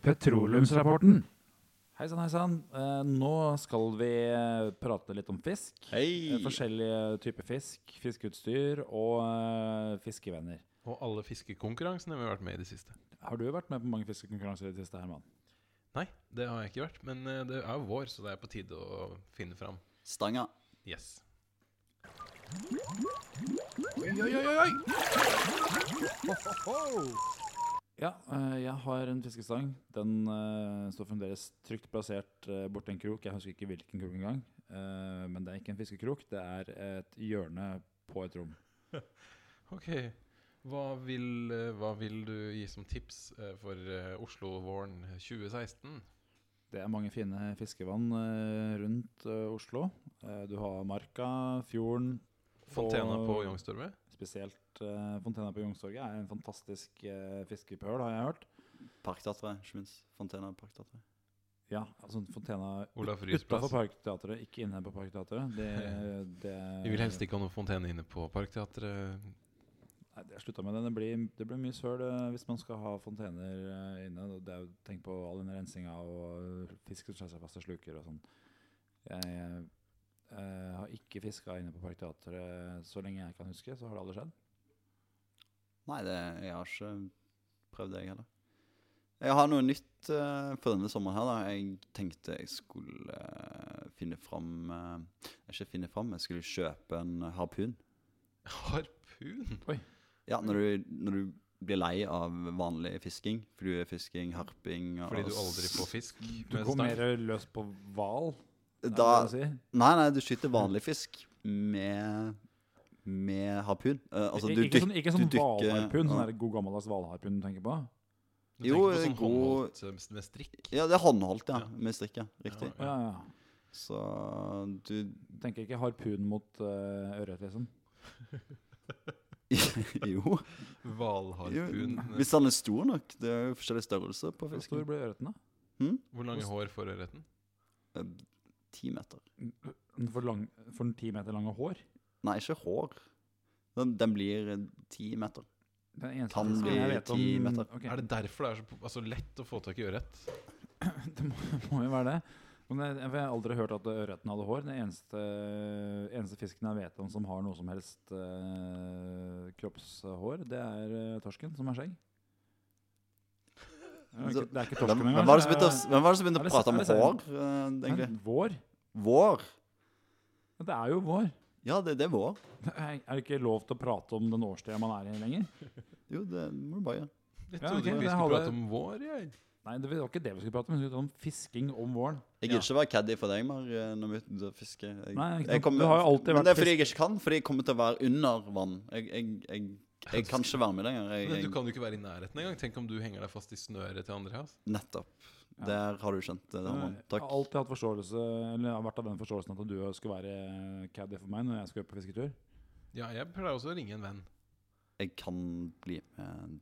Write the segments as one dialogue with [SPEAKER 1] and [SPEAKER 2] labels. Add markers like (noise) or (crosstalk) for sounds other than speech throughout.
[SPEAKER 1] Petroleumsrapporten. Hei sann, hei sann. Eh, Nå skal vi eh, prate litt om fisk.
[SPEAKER 2] Hei!
[SPEAKER 1] Eh, Forskjellige typer fisk, fiskeutstyr og eh, fiskevenner.
[SPEAKER 3] Og alle fiskekonkurransene vi har vært med i det siste.
[SPEAKER 1] Har du vært med på mange fiskekonkurranser i det siste, Herman?
[SPEAKER 3] Nei, det har jeg ikke vært. Men eh, det er jo vår, så det er på tide å finne fram.
[SPEAKER 2] Stanga.
[SPEAKER 3] Yes.
[SPEAKER 1] Ja, eh, jeg har en fiskestang. Den eh, står fremdeles trygt plassert eh, borti en krok. Jeg husker ikke hvilken krok engang. Eh, Men det er ikke en fiskekrok, det er et hjørne på et rom.
[SPEAKER 3] Ok. Hva vil, eh, hva vil du gi som tips eh, for eh, Oslo-våren 2016?
[SPEAKER 1] Det er mange fine fiskevann eh, rundt eh, Oslo. Eh, Du har Marka, fjorden
[SPEAKER 3] Fontena
[SPEAKER 1] og
[SPEAKER 3] på Youngstorget?
[SPEAKER 1] Spesielt eh, fontena på Youngstorget er en fantastisk eh, fiskepøl, har jeg hørt.
[SPEAKER 2] Parkteatret, ikke minst. Fontena Parkteatret.
[SPEAKER 1] Ja, altså en fontena
[SPEAKER 3] Olaf Ryes
[SPEAKER 1] utafor
[SPEAKER 3] plass?
[SPEAKER 1] Parkteatret, ikke inne på Parkteatret. Det,
[SPEAKER 3] (laughs)
[SPEAKER 1] det,
[SPEAKER 3] Vi vil helst ikke ha noen fontene inne på Parkteatret.
[SPEAKER 1] Nei, det har slutta med det. Det blir, det blir mye søl eh, hvis man skal ha fontener eh, inne. og Det er, jo- tenk på all den rensinga og eh, fisk som slår seg fast i sluker og sånn. Jeg eh, har ikke fiska inne på Parkteatret eh, så lenge jeg kan huske. Så har det aldri skjedd.
[SPEAKER 2] Nei, det, jeg har ikke prøvd det, jeg heller. Jeg har noe nytt eh, på denne sommeren her. da. Jeg tenkte jeg skulle eh, finne fram eh, Ikke finne fram, jeg skulle kjøpe en harpun.
[SPEAKER 3] Harpun?
[SPEAKER 2] Ja, når du, når du blir lei av vanlig fisking. Fluefisking, harping og
[SPEAKER 3] Fordi du aldri får fisk
[SPEAKER 1] Du
[SPEAKER 3] med
[SPEAKER 1] går
[SPEAKER 3] stang?
[SPEAKER 1] mer løs på hval. er
[SPEAKER 2] Da,
[SPEAKER 1] det det du sier?
[SPEAKER 2] nei, nei, du skyter vanlig fisk med, med harpun. Eh, altså, du
[SPEAKER 1] Ik- ikke,
[SPEAKER 2] dyk-
[SPEAKER 1] sånn, ikke
[SPEAKER 2] du
[SPEAKER 1] sånn
[SPEAKER 2] dykker-
[SPEAKER 1] hvalharpun, sånn
[SPEAKER 2] ja.
[SPEAKER 1] der god gammeldags hvalharpun du tenker på?
[SPEAKER 3] Du
[SPEAKER 2] Jo,
[SPEAKER 3] tenker på sånn
[SPEAKER 2] god-
[SPEAKER 3] håndholdt eh, med strikk?
[SPEAKER 2] Ja, det er håndholdt, ja.
[SPEAKER 3] Ja.
[SPEAKER 2] Med strikk, ja. Riktig.
[SPEAKER 3] Ja.
[SPEAKER 1] Å, ja, ja.
[SPEAKER 2] Så du (laughs)
[SPEAKER 1] Tenker ikke harpun mot uh, ørret, liksom.
[SPEAKER 2] Jo. Jo,
[SPEAKER 3] Hvalharpun?
[SPEAKER 2] Hvis den er stor nok. Det er jo forskjellig størrelse på
[SPEAKER 1] Hvor
[SPEAKER 2] fisken.
[SPEAKER 1] stor ble ørreten, da?
[SPEAKER 3] Hvor lange hår får ørreten?
[SPEAKER 2] Ti meter.
[SPEAKER 1] Den For, lang, for den ti meter lange hår?
[SPEAKER 2] Nei, ikke hår. Den, den blir eh, ti meter.
[SPEAKER 1] Den eneste
[SPEAKER 2] Kan
[SPEAKER 1] fisken
[SPEAKER 2] bli
[SPEAKER 1] jeg vet om-
[SPEAKER 2] 10 meter.
[SPEAKER 1] Ok,
[SPEAKER 3] Er det derfor det er så po- altså, lett å få tak i ørret?
[SPEAKER 1] Det må, (laughs) må jo være det. Men jeg, jeg har aldri hørt at ørreten hadde hår. Den eneste, eneste fisken jeg vet om som har noe som helst eh, kroppshår, det er eh, torsken, som har skjegg. Det er ikke, det er ikke
[SPEAKER 2] Hvem,
[SPEAKER 1] torsken engang.
[SPEAKER 2] hvem var det som begynte å,
[SPEAKER 1] er-
[SPEAKER 2] hvem var det som
[SPEAKER 1] er
[SPEAKER 2] begynte å
[SPEAKER 1] det se-
[SPEAKER 2] prate om
[SPEAKER 1] er det se-
[SPEAKER 2] hår, eh, egentlig?
[SPEAKER 1] Nei, Vår?
[SPEAKER 2] Vår?
[SPEAKER 1] Ja, Det er jo vår.
[SPEAKER 2] Ja, det, det er vår.
[SPEAKER 1] Er er det ikke lov til å prate om den årstida man er i lenger?
[SPEAKER 2] Jo, det må du bare gjøre.
[SPEAKER 3] Jeg
[SPEAKER 1] Ja,
[SPEAKER 3] trodde
[SPEAKER 1] ok, det
[SPEAKER 3] vi skulle
[SPEAKER 1] hadde-
[SPEAKER 3] prate om vår, jeg.
[SPEAKER 1] Nei, det var ikke det vi skulle prate om. Vi skulle prate om fisking om våren.
[SPEAKER 2] Jeg
[SPEAKER 3] Ja.
[SPEAKER 2] gidder ikke være caddy for deg mer eh, når vi er ute og fisker. Jeg,
[SPEAKER 1] Nei, ikke
[SPEAKER 2] jeg
[SPEAKER 1] sant. Du har jo alltid vært
[SPEAKER 2] Men det er fordi jeg ikke kan, fordi jeg kommer til å være under vann. Jeg, jeg, jeg, jeg,
[SPEAKER 3] du
[SPEAKER 2] kan ikke være med lenger. Jeg,
[SPEAKER 3] Men Du
[SPEAKER 2] jeg,
[SPEAKER 3] kan jo ikke være i nærheten engang. Tenk om du henger deg fast i snøret til andre altså. hans.
[SPEAKER 2] nettopp. Der har du skjønt det, Herman.
[SPEAKER 1] Eh, Jeg
[SPEAKER 2] Takk.
[SPEAKER 1] har alltid hatt forståelse Eller jeg har vært av den forståelsen at du skulle være caddy for meg når jeg skulle på fisketur.
[SPEAKER 3] Ja, jeg pleier også å ringe en venn.
[SPEAKER 2] Jeg kan bli med.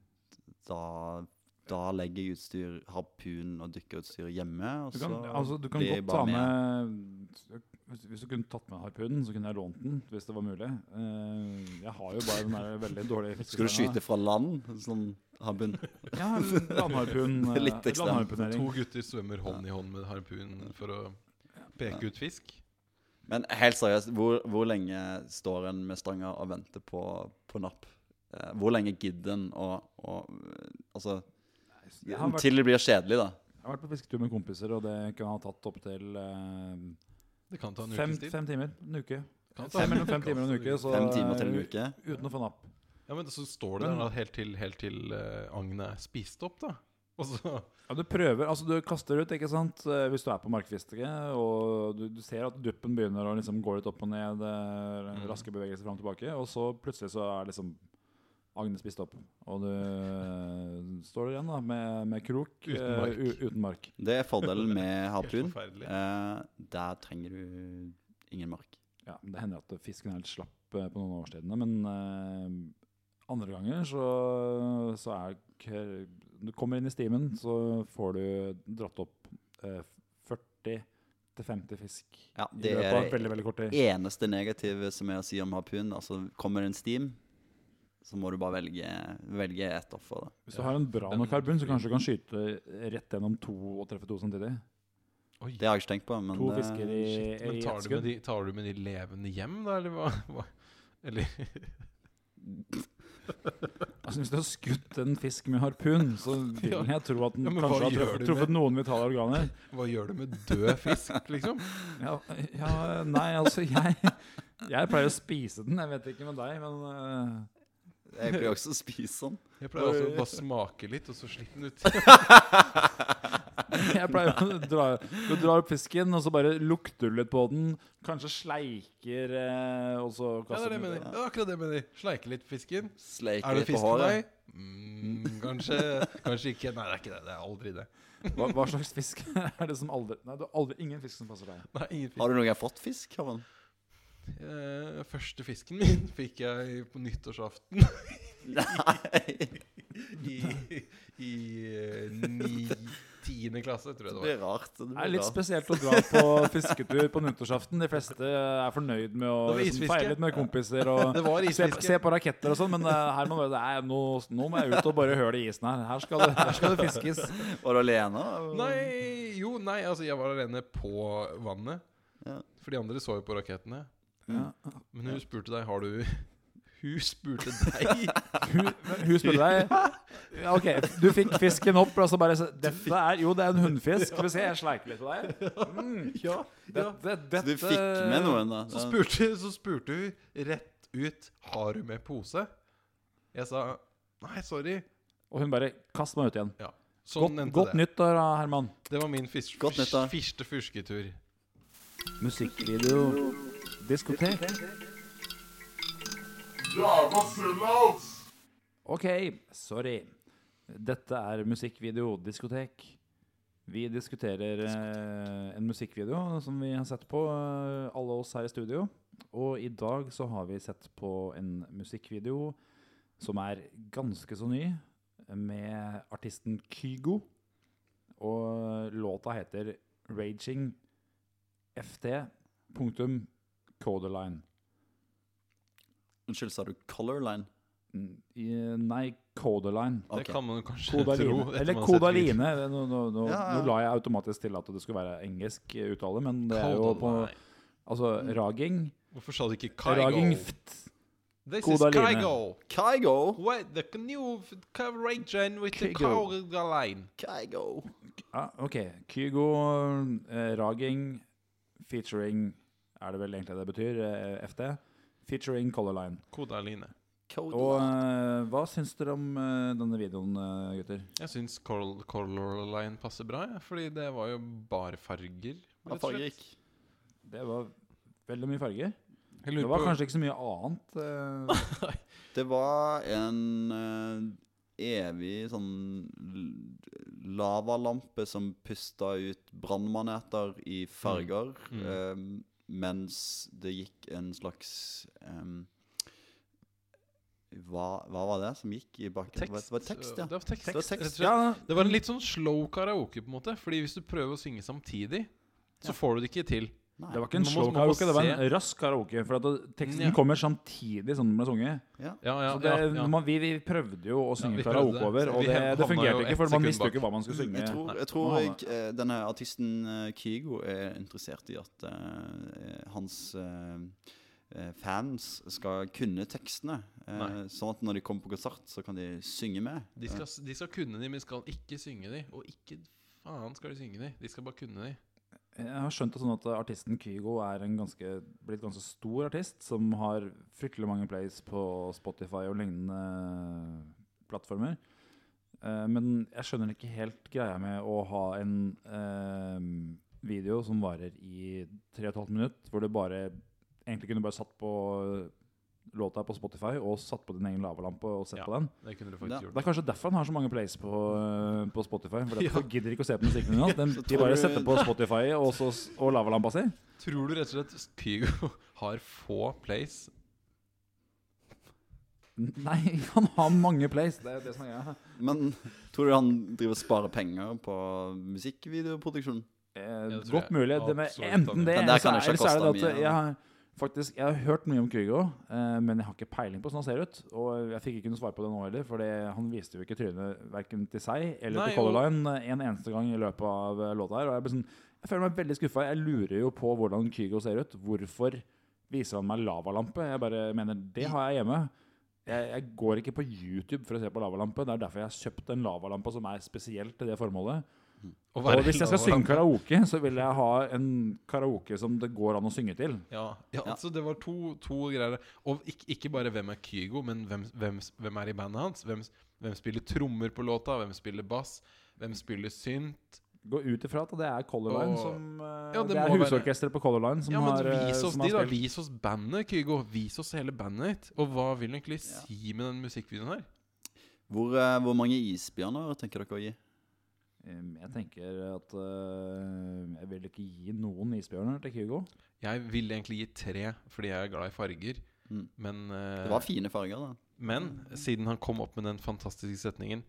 [SPEAKER 2] Da, da legger jeg utstyr, harpun og dykkerutstyr hjemme. Og
[SPEAKER 1] Du kan,
[SPEAKER 2] så
[SPEAKER 1] altså, du kan
[SPEAKER 2] blir jeg
[SPEAKER 1] godt ta
[SPEAKER 2] bare
[SPEAKER 1] med hvis, hvis du kunne tatt med harpunen, så kunne jeg lånt den hvis det var mulig. Eh, jeg har jo bare den der veldig dårlige
[SPEAKER 2] (laughs) Skal du
[SPEAKER 1] fiskestanga.
[SPEAKER 2] skyte fra land? Sånn harpun?
[SPEAKER 1] Ja, landharpun.
[SPEAKER 2] (laughs)
[SPEAKER 1] eh,
[SPEAKER 2] Litt ekstremt.
[SPEAKER 1] landharpunering.
[SPEAKER 3] To gutter svømmer hånd i hånd med harpun for å peke ut fisk.
[SPEAKER 2] Men helt seriøst, hvor, hvor lenge står en med stanga og venter på, på napp? Eh, Hvor lenge gidder en å å- Altså,
[SPEAKER 1] Jeg har vært,
[SPEAKER 2] til det blir kjedelig, da.
[SPEAKER 1] jeg har vært på fisketur med kompiser, og det kunne ha tatt opptil uh,
[SPEAKER 3] Det kan ta en
[SPEAKER 1] fem,
[SPEAKER 3] ukes tid.
[SPEAKER 1] fem timer. En uke.
[SPEAKER 3] Kan ta-
[SPEAKER 1] Fem, mellom fem
[SPEAKER 3] kan
[SPEAKER 1] timer og
[SPEAKER 3] ta
[SPEAKER 1] en uke. Så
[SPEAKER 2] Fem timer til en
[SPEAKER 1] eh,
[SPEAKER 2] uke.
[SPEAKER 1] Uten å få napp.
[SPEAKER 3] Ja, men så står du der da, helt til, helt til eh, agnet er spist opp, da. (laughs) Og så
[SPEAKER 1] Ja, du prøver, altså du kaster ut, ikke sant, eh, hvis du er på markfiske, og du, du ser at duppen begynner å liksom gå litt opp og ned,
[SPEAKER 3] Mm.
[SPEAKER 1] eh, raske bevegelser fram og tilbake, og så plutselig så er liksom agnet spist opp, og du eh, står der igjen da, med, med krok eh,
[SPEAKER 3] Uten mark.
[SPEAKER 1] u- uten mark.
[SPEAKER 2] Det er fordelen
[SPEAKER 1] (laughs)
[SPEAKER 2] med harpun.
[SPEAKER 3] Helt forferdelig.
[SPEAKER 2] Eh, der trenger du ingen mark.
[SPEAKER 1] Ja, men det hender at fisken er litt slapp eh, på noen av årstidene, men eh, andre ganger så, så er k- Du kommer inn i stimen, så får du dratt opp eh, 40 til 50 fisk
[SPEAKER 2] Ja,
[SPEAKER 1] I
[SPEAKER 2] det
[SPEAKER 1] løpet av
[SPEAKER 2] er
[SPEAKER 3] e-
[SPEAKER 1] veldig, veldig kort tid.
[SPEAKER 2] eneste negative som er å si om harpun. Altså, kommer det en steam, så må du bare velge, velge ett offer. da.
[SPEAKER 1] Hvis du har en bra nok
[SPEAKER 3] Den-
[SPEAKER 1] karbun, så kanskje du kan skyte rett gjennom to og treffe to samtidig.
[SPEAKER 3] Oi.
[SPEAKER 2] Det har jeg ikke tenkt på. men eh,
[SPEAKER 1] To
[SPEAKER 2] det,
[SPEAKER 1] fisker i,
[SPEAKER 3] eh, Shit,
[SPEAKER 1] i ett
[SPEAKER 3] men tar du, med
[SPEAKER 1] skudd.
[SPEAKER 3] de, tar du med de levende hjem, da, eller hva? hva? Eller
[SPEAKER 1] Altså, hvis du har skutt en fisk med harpun, så vil
[SPEAKER 3] (laughs) Ja.
[SPEAKER 1] jeg tro at den
[SPEAKER 3] Ja, men hva
[SPEAKER 1] kanskje har
[SPEAKER 3] gjør
[SPEAKER 1] truffet,
[SPEAKER 3] du med-
[SPEAKER 1] truffet noen vitale organer.
[SPEAKER 3] hva gjør du med død fisk, liksom?
[SPEAKER 1] Ja, ja, nei, altså, jeg, jeg pleier å spise den. Jeg vet ikke med deg, men eh, (laughs)
[SPEAKER 2] Jeg blir også (laughs) spise den.
[SPEAKER 3] Jeg pleier også å bare smake litt, og så slippe den ut.
[SPEAKER 1] Jeg pleier å dra Du drar opp fisken, og så bare lukter du litt på den. Kanskje sleiker, eh, og så
[SPEAKER 3] Ja, det er
[SPEAKER 1] kaster
[SPEAKER 3] det jeg
[SPEAKER 1] den.
[SPEAKER 3] mener. Det er akkurat det jeg mener. Sleike litt fisken.
[SPEAKER 2] Sleike
[SPEAKER 3] Er det
[SPEAKER 2] litt på
[SPEAKER 3] fisk for
[SPEAKER 2] håret.
[SPEAKER 3] deg? Mm,
[SPEAKER 2] (laughs)
[SPEAKER 3] kanskje, kanskje ikke. Nei, det er ikke det. Det er aldri det.
[SPEAKER 1] Hva, hva slags fisk (laughs) er det som aldri Nei, det er aldri ingen fisk som passer deg.
[SPEAKER 3] Nei, ingen fisk.
[SPEAKER 2] Har du noen gang fått fisk? Kevin?
[SPEAKER 3] Eh, første fisken min fikk jeg på nyttårsaften (laughs)
[SPEAKER 2] Nei.
[SPEAKER 3] i, i eh, ni, tiende klasse, tror
[SPEAKER 2] Det
[SPEAKER 3] jeg det var.
[SPEAKER 2] blir rart. Det
[SPEAKER 1] Det er
[SPEAKER 2] blir
[SPEAKER 1] litt
[SPEAKER 2] rart.
[SPEAKER 1] spesielt å dra på fisketur på nyttårsaften. De fleste er fornøyd med å
[SPEAKER 3] Det var
[SPEAKER 1] liksom,
[SPEAKER 3] isfiske.
[SPEAKER 1] feire litt med kompiser og
[SPEAKER 3] (laughs) Det var
[SPEAKER 1] se,
[SPEAKER 3] isfiske.
[SPEAKER 1] se på raketter og sånn, men eh, her må man bare Nei, nå, nå må jeg ut og bare høle i isen her. Her skal det, her skal det fiskes.
[SPEAKER 2] Var du alene?
[SPEAKER 3] Nei, jo, nei, altså jeg var alene på vannet.
[SPEAKER 2] Ja.
[SPEAKER 3] For de andre så jo på rakettene.
[SPEAKER 1] Ja.
[SPEAKER 3] Men hun spurte deg har du Hun spurte deg
[SPEAKER 1] Hun, hun spurte deg ja, Ok, du fikk fisken opp, og så bare så, Dette er Jo, det er en hunnfisk. Skal vi se, jeg sleiker litt på deg. Mm,
[SPEAKER 3] Ja, ja.
[SPEAKER 1] dette,
[SPEAKER 2] Så
[SPEAKER 1] dette
[SPEAKER 2] du fikk
[SPEAKER 1] eh,
[SPEAKER 2] med noen, da?
[SPEAKER 3] Så spurte, så spurte hun rett ut Har du med pose? Jeg sa nei, sorry.
[SPEAKER 1] Og hun bare Kast meg ut igjen.
[SPEAKER 3] Ja,
[SPEAKER 1] Godt,
[SPEAKER 3] sånn endte
[SPEAKER 1] godt
[SPEAKER 3] det.
[SPEAKER 1] nyttår, da, Herman.
[SPEAKER 3] Det var min fis-
[SPEAKER 2] Godt nytt, da.
[SPEAKER 3] fis- første fusketur.
[SPEAKER 1] Musikkvideo. Diskotek. Ok, sorry. Dette er musikkvideo diskotek. Vi diskuterer eh, en musikkvideo som vi har sett på, eh, alle oss her i studio. Og i dag så har vi sett på en musikkvideo som er ganske så ny, med artisten Kygo. Og låta heter 'Raging FT. Punktum Coderline'.
[SPEAKER 2] Unnskyld, sa du color line?
[SPEAKER 1] Mm, i- Nei,
[SPEAKER 3] (laughs)
[SPEAKER 1] Coderline.
[SPEAKER 2] Ok.
[SPEAKER 3] Det kan man jo kanskje tro.
[SPEAKER 1] Kodaline.
[SPEAKER 3] etter
[SPEAKER 1] Eller
[SPEAKER 3] man har sett
[SPEAKER 1] Kodaline. Nå, nå, nå,
[SPEAKER 2] Ja, ja.
[SPEAKER 1] nå la jeg automatisk til at det skulle være engelsk uttale, men det er jo på
[SPEAKER 3] Kodaline.
[SPEAKER 1] Altså, raging.
[SPEAKER 3] Hvorfor sa du ikke
[SPEAKER 1] Raging
[SPEAKER 3] Kygo?
[SPEAKER 1] ft.
[SPEAKER 3] This
[SPEAKER 1] Kodaline.
[SPEAKER 3] is Kygo.
[SPEAKER 2] Kygo!
[SPEAKER 3] Wait, the new Raging with the
[SPEAKER 1] Kygo.
[SPEAKER 3] Kodaline.
[SPEAKER 2] Kygo.
[SPEAKER 1] Ja, OK. Kygo eh, Raging featuring Er det vel egentlig det betyr? Eh, FT. Featuring Color Line.
[SPEAKER 3] Kodaline.
[SPEAKER 1] Og
[SPEAKER 2] Kodaline.
[SPEAKER 1] eh, hva syns dere om eh, denne videoen, eh, gutter?
[SPEAKER 3] Jeg syns Col- Colorline passer bra, jeg, fordi det var jo bare farger.
[SPEAKER 2] Ja,
[SPEAKER 3] rett og slett.
[SPEAKER 2] fargerik.
[SPEAKER 1] Det var veldig mye farger.
[SPEAKER 3] Jeg
[SPEAKER 1] Det
[SPEAKER 3] lurer
[SPEAKER 1] var
[SPEAKER 3] på
[SPEAKER 1] kanskje ikke så mye annet.
[SPEAKER 3] (laughs)
[SPEAKER 1] eh,
[SPEAKER 2] Det var en eh, evig sånn l- lavalampe som pusta ut brannmaneter i farger,
[SPEAKER 3] Mm.
[SPEAKER 2] eh, mens det gikk en slags eh, hva, hva var det som gikk i bakken? Det var- Det var tekst, ja.
[SPEAKER 3] Det var tekst,
[SPEAKER 2] Det var tekst.
[SPEAKER 3] rett og slett.
[SPEAKER 1] ja,
[SPEAKER 3] Det var en litt sånn slow karaoke, på en måte. Fordi hvis du prøver å synge samtidig, så
[SPEAKER 2] Ja.
[SPEAKER 3] får du det ikke til.
[SPEAKER 2] Nei.
[SPEAKER 1] det var ikke en
[SPEAKER 3] Man må-
[SPEAKER 1] slow
[SPEAKER 3] man må
[SPEAKER 1] karaoke, det var en
[SPEAKER 3] se.
[SPEAKER 1] rask karaoke. For at det- teksten
[SPEAKER 3] Ja.
[SPEAKER 1] kommer samtidig som den ble sunget.
[SPEAKER 3] Ja, ja,
[SPEAKER 1] Så det,
[SPEAKER 3] ja, ja.
[SPEAKER 1] Man, vi, vi prøvde jo å synge
[SPEAKER 3] vi
[SPEAKER 1] fra
[SPEAKER 3] prøvde.
[SPEAKER 1] over, og
[SPEAKER 3] Vi
[SPEAKER 1] det,
[SPEAKER 3] havna
[SPEAKER 1] det fungerte
[SPEAKER 3] jo
[SPEAKER 1] ikke,
[SPEAKER 3] ett
[SPEAKER 1] for man
[SPEAKER 3] sekund
[SPEAKER 1] visste jo
[SPEAKER 3] bak.
[SPEAKER 1] ikke hva man skulle synge.
[SPEAKER 2] Jeg tror, jeg tror jeg, eh, denne artisten eh, Kygo er interessert i at eh, hans eh, eh, fans skal kunne tekstene. eh,
[SPEAKER 3] Nei.
[SPEAKER 2] sånn at når de kommer på konsert, så kan de synge med.
[SPEAKER 3] De, skal, de skal kunne de, men skal ikke synge de. Og ikke faen skal de synge de. De skal bare kunne de.
[SPEAKER 1] Jeg har skjønt det sånn at artisten Kygo er en ganske, blitt ganske stor artist, som har fryktelig mange plays på Spotify og lignende plattformer. Eh, Men jeg skjønner ikke helt greia med å ha en eh, video som varer i 3,5 minutter, hvor du bare egentlig kunne bare satt på eh, låta på Spotify og satt på din egen lavalampe og sett
[SPEAKER 3] Ja.
[SPEAKER 1] på den.
[SPEAKER 3] Det kunne du
[SPEAKER 2] Ja.
[SPEAKER 3] faktisk
[SPEAKER 1] Det
[SPEAKER 3] gjort.
[SPEAKER 1] er kanskje derfor han har så mange plays på, eh, på Spotify.
[SPEAKER 2] (laughs)
[SPEAKER 1] For
[SPEAKER 3] Ja.
[SPEAKER 1] derfor gidder de ikke å se på musikken hans. De,
[SPEAKER 2] Så
[SPEAKER 1] de
[SPEAKER 2] tror
[SPEAKER 1] bare
[SPEAKER 2] du-
[SPEAKER 1] setter på Spotify og, så, s- og lavalampa si.
[SPEAKER 3] Tror du rett og slett Kygo (laughs) har få plays?
[SPEAKER 1] Nei, han har mange plays. Det er jo det som er greia.
[SPEAKER 2] Men (laughs) tror du han driver og sparer penger på musikkvideoproduksjon?
[SPEAKER 1] Eh,
[SPEAKER 3] det tror
[SPEAKER 1] godt
[SPEAKER 3] jeg
[SPEAKER 1] mulig. Det med,
[SPEAKER 3] absolutt han
[SPEAKER 1] enten
[SPEAKER 3] gjør.
[SPEAKER 1] det,
[SPEAKER 2] Men
[SPEAKER 1] eller
[SPEAKER 2] det
[SPEAKER 1] så
[SPEAKER 2] kan
[SPEAKER 1] er
[SPEAKER 2] ikke ha
[SPEAKER 1] eller så er
[SPEAKER 2] kostet
[SPEAKER 1] det at
[SPEAKER 2] mye,
[SPEAKER 1] jeg har Faktisk, Jeg har hørt mye om Kygo, eh, men jeg har ikke peiling på hvordan han ser ut. Og jeg fikk ikke noe svar på det nå heller, for han viste jo ikke trynet verken til seg eller
[SPEAKER 3] Nei,
[SPEAKER 1] til Color
[SPEAKER 3] og-
[SPEAKER 1] Line eh, en eneste gang i løpet av eh, låta her. Og jeg, ble sånn, jeg føler meg veldig skuffa. Jeg lurer jo på hvordan Kygo ser ut. Hvorfor viser han meg lavalampe? Jeg bare mener, det har jeg hjemme. Jeg, jeg går ikke på YouTube for å se på lavalampe. Det er derfor jeg har kjøpt en lavalampe som er spesielt til det formålet.
[SPEAKER 3] Å
[SPEAKER 1] Og
[SPEAKER 3] være
[SPEAKER 1] hvis jeg skal
[SPEAKER 3] lavalampe.
[SPEAKER 1] synge karaoke, så vil jeg ha en karaoke som det går an å synge til.
[SPEAKER 3] Ja, ja,
[SPEAKER 2] Ja.
[SPEAKER 3] altså det var to, to greier der. Og ikke, ikke bare hvem er Kygo, men hvem, hvem, hvem er i bandet hans? Hvem, hvem spiller trommer på låta? Hvem spiller bass? Hvem spiller synt?
[SPEAKER 1] Gå ut ifra at det er Color Line
[SPEAKER 3] Og-
[SPEAKER 1] som eh,
[SPEAKER 3] Ja, det
[SPEAKER 1] Det er
[SPEAKER 3] må være-
[SPEAKER 1] husorkesteret på Color Line som
[SPEAKER 3] Ja, men
[SPEAKER 1] har, eh,
[SPEAKER 3] Vis oss
[SPEAKER 1] som
[SPEAKER 3] de, da.
[SPEAKER 1] har spilt.
[SPEAKER 3] Vis oss bandet, Kygo. Vis oss hele bandet ditt. Og hva vil du egentlig si med den musikkvideoen her?
[SPEAKER 2] Hvor, eh, hvor mange isbjørner tenker dere å gi?
[SPEAKER 1] Um, Jeg tenker at eh, Jeg vil ikke gi noen isbjørner til Kygo.
[SPEAKER 3] Jeg ville egentlig gi tre, fordi jeg er glad i farger.
[SPEAKER 2] Mm.
[SPEAKER 3] Men, eh,
[SPEAKER 2] Det var fine farger, da.
[SPEAKER 3] men siden han kom opp med den fantastiske setningen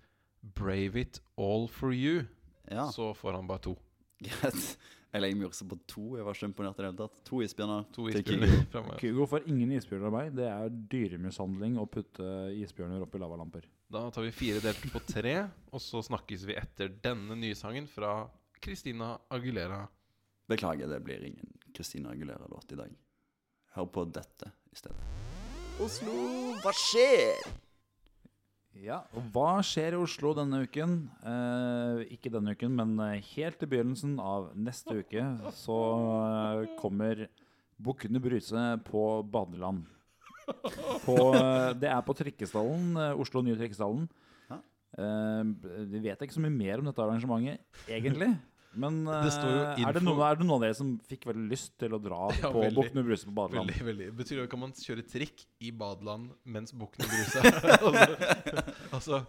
[SPEAKER 3] 'Brave it all for you',
[SPEAKER 2] Ja,
[SPEAKER 3] så får han bare to.
[SPEAKER 2] (laughs) greit. Jeg legger meg også på to. Jeg var ikke imponert i det hele tatt. To isbjørner.
[SPEAKER 3] To
[SPEAKER 2] til
[SPEAKER 3] isbjørner
[SPEAKER 2] Kygo.
[SPEAKER 3] (laughs) fra meg.
[SPEAKER 1] Kygo får ingen isbjørner av meg. Det er dyremishandling å putte isbjørner oppi lavalamper.
[SPEAKER 3] Da tar vi fire delt på tre, og så snakkes vi etter denne nye sangen fra Christina Aguilera.
[SPEAKER 2] Beklager, det blir ingen Christina Aguilera-låt i dag. Hør på dette i stedet. Oslo, hva skjer?
[SPEAKER 1] Ja, og Hva skjer i Oslo denne uken? Eh, ikke denne uken, men eh, helt i begynnelsen av neste uke så eh, kommer Bukkene Bruse på badeland. På, eh, det er på Trikkestallen, eh, Oslo nye Trikkestallen.
[SPEAKER 2] Ja.
[SPEAKER 1] Eh, vi vet ikke så mye mer om dette arrangementet, egentlig. Men eh,
[SPEAKER 3] Det står jo
[SPEAKER 1] er, det
[SPEAKER 3] info.
[SPEAKER 1] noen, er det noen av dere som fikk veldig lyst til å dra
[SPEAKER 3] Ja,
[SPEAKER 1] på
[SPEAKER 3] veldig.
[SPEAKER 1] Bukkene Bruse på badeland?
[SPEAKER 3] Veldig, veldig. Betyr det kan man kjøre trikk i badeland mens bukkene bruser? altså, altså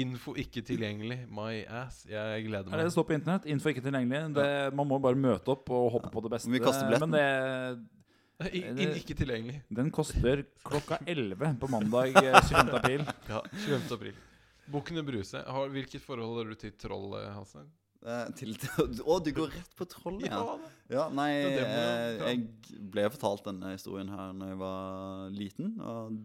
[SPEAKER 3] Info ikke tilgjengelig. My ass. Jeg
[SPEAKER 1] Det er
[SPEAKER 3] gleder
[SPEAKER 1] det det
[SPEAKER 3] meg.
[SPEAKER 1] står på internett. Info ikke tilgjengelig. Det, man må bare møte opp og hoppe på det beste.
[SPEAKER 2] Vi kaster billetten.
[SPEAKER 1] Men det,
[SPEAKER 3] I, in, ikke tilgjengelig.
[SPEAKER 1] den koster klokka 11 på mandag eh, 25. april.
[SPEAKER 3] Ja, 25. april. Bukkene Bruse. Har, hvilket forhold har du til troll, eh, Hansen?
[SPEAKER 2] Eh, til, (laughs) å, du går rett på trollet igjen.
[SPEAKER 3] da.
[SPEAKER 2] Ja, nei,
[SPEAKER 3] Ja, det må
[SPEAKER 2] eh,
[SPEAKER 3] du-
[SPEAKER 2] jeg ble fortalt denne historien her når jeg var liten, og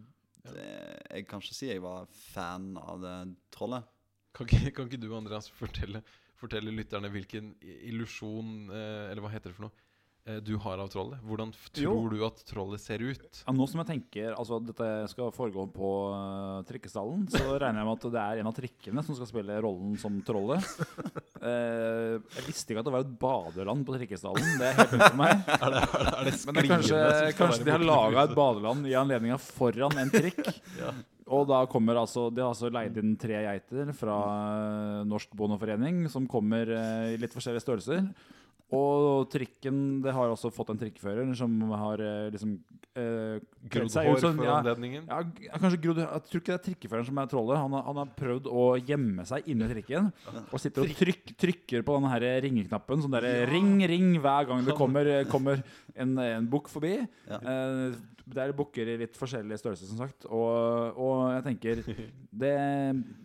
[SPEAKER 2] det, jeg kan ikke si jeg var fan av det trollet.
[SPEAKER 3] Kan ikke, kan ikke du, Andreas, fortelle, fortelle lytterne hvilken i- illusjon, eh, eller hva heter det for noe, eh, du har av trollet? Hvordan f-
[SPEAKER 1] Jo.
[SPEAKER 3] tror du at trollet ser ut?
[SPEAKER 1] Ja, nå som jeg tenker altså dette skal foregå på eh, trikkestallen, så regner jeg med at det er en av trikkene som skal spille rollen som trollet. Eh, jeg visste ikke at det var et badeland på trikkestallen. Det er helt nytt for meg.
[SPEAKER 3] Er det, er det, er det
[SPEAKER 1] Men det er kanskje, kanskje de har laga et badeland i anledninga foran en trikk. Og da kommer altså De har altså leid inn tre geiter fra eh, Norsk Bondeforening, som kommer eh, i litt forskjellige størrelser. Og trikken Det har også fått en trikkefører som har eh, liksom eh, kledd
[SPEAKER 3] grodd
[SPEAKER 1] seg ut
[SPEAKER 3] hår
[SPEAKER 1] som-
[SPEAKER 3] for
[SPEAKER 1] ja,
[SPEAKER 3] anledningen?
[SPEAKER 1] ja, g- kanskje grodd Jeg tror ikke det er trikkeføreren som er trollet. Han har, han har prøvd å gjemme seg inni trikken. Og sitter og trykk, trykker på den her ringeknappen. Sånn der ring, ring hver gang det kommer, eh, kommer en, en bukk forbi.
[SPEAKER 2] Ja.
[SPEAKER 1] Eh, det er bukker i litt forskjellig størrelse, som sagt. Og, og jeg tenker det,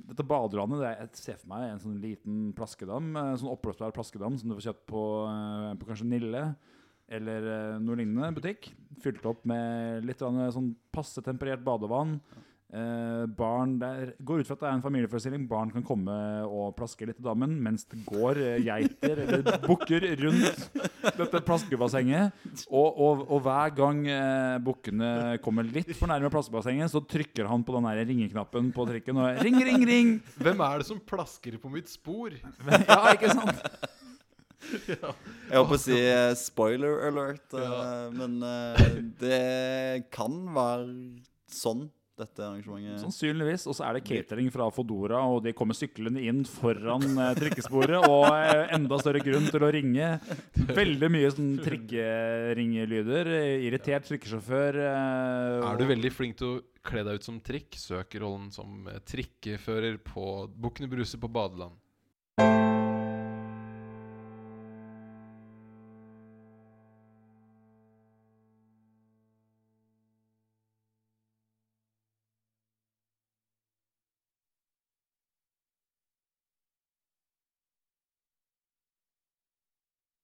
[SPEAKER 1] Dette badelandet det er, Jeg ser for meg en sånn liten plaskedam. eh, Sånn oppblåsbar plaskedam som du får kjøpt på, eh, på kanskje Nille eller eh, noe lignende butikk. Fylt opp med litt grann sånn passe temperert badevann. Eh, barn der Går ut fra at det er en familieforestilling. Barn kan komme og plaske litt i dammen mens det går eh, geiter eller bukker rundt dette plaskebassenget. Og, og, og hver gang eh, bukkene kommer litt for nærme plaskebassenget, så trykker han på den der ringeknappen på trikken og Ring, ring, ring! (laughs)
[SPEAKER 3] Hvem er det som plasker på mitt spor?
[SPEAKER 1] Ja, ikke sant?
[SPEAKER 2] Jeg holdt på å si eh, spoiler alert, eh,
[SPEAKER 3] Ja.
[SPEAKER 2] men eh, det kan være sånn, dette arrangementet.
[SPEAKER 1] Sannsynligvis. Og så er det catering fra Fodora, og de kommer syklende inn foran eh, trikkesporet. Og eh, enda større grunn til å ringe. Veldig mye sånn trikkeringellyder. eh, Irritert trikkesjåfør. eh,
[SPEAKER 3] Er du veldig flink til å kle deg ut som trikk? Søk rollen som eh, trikkefører på Bukkene Bruse på badeland.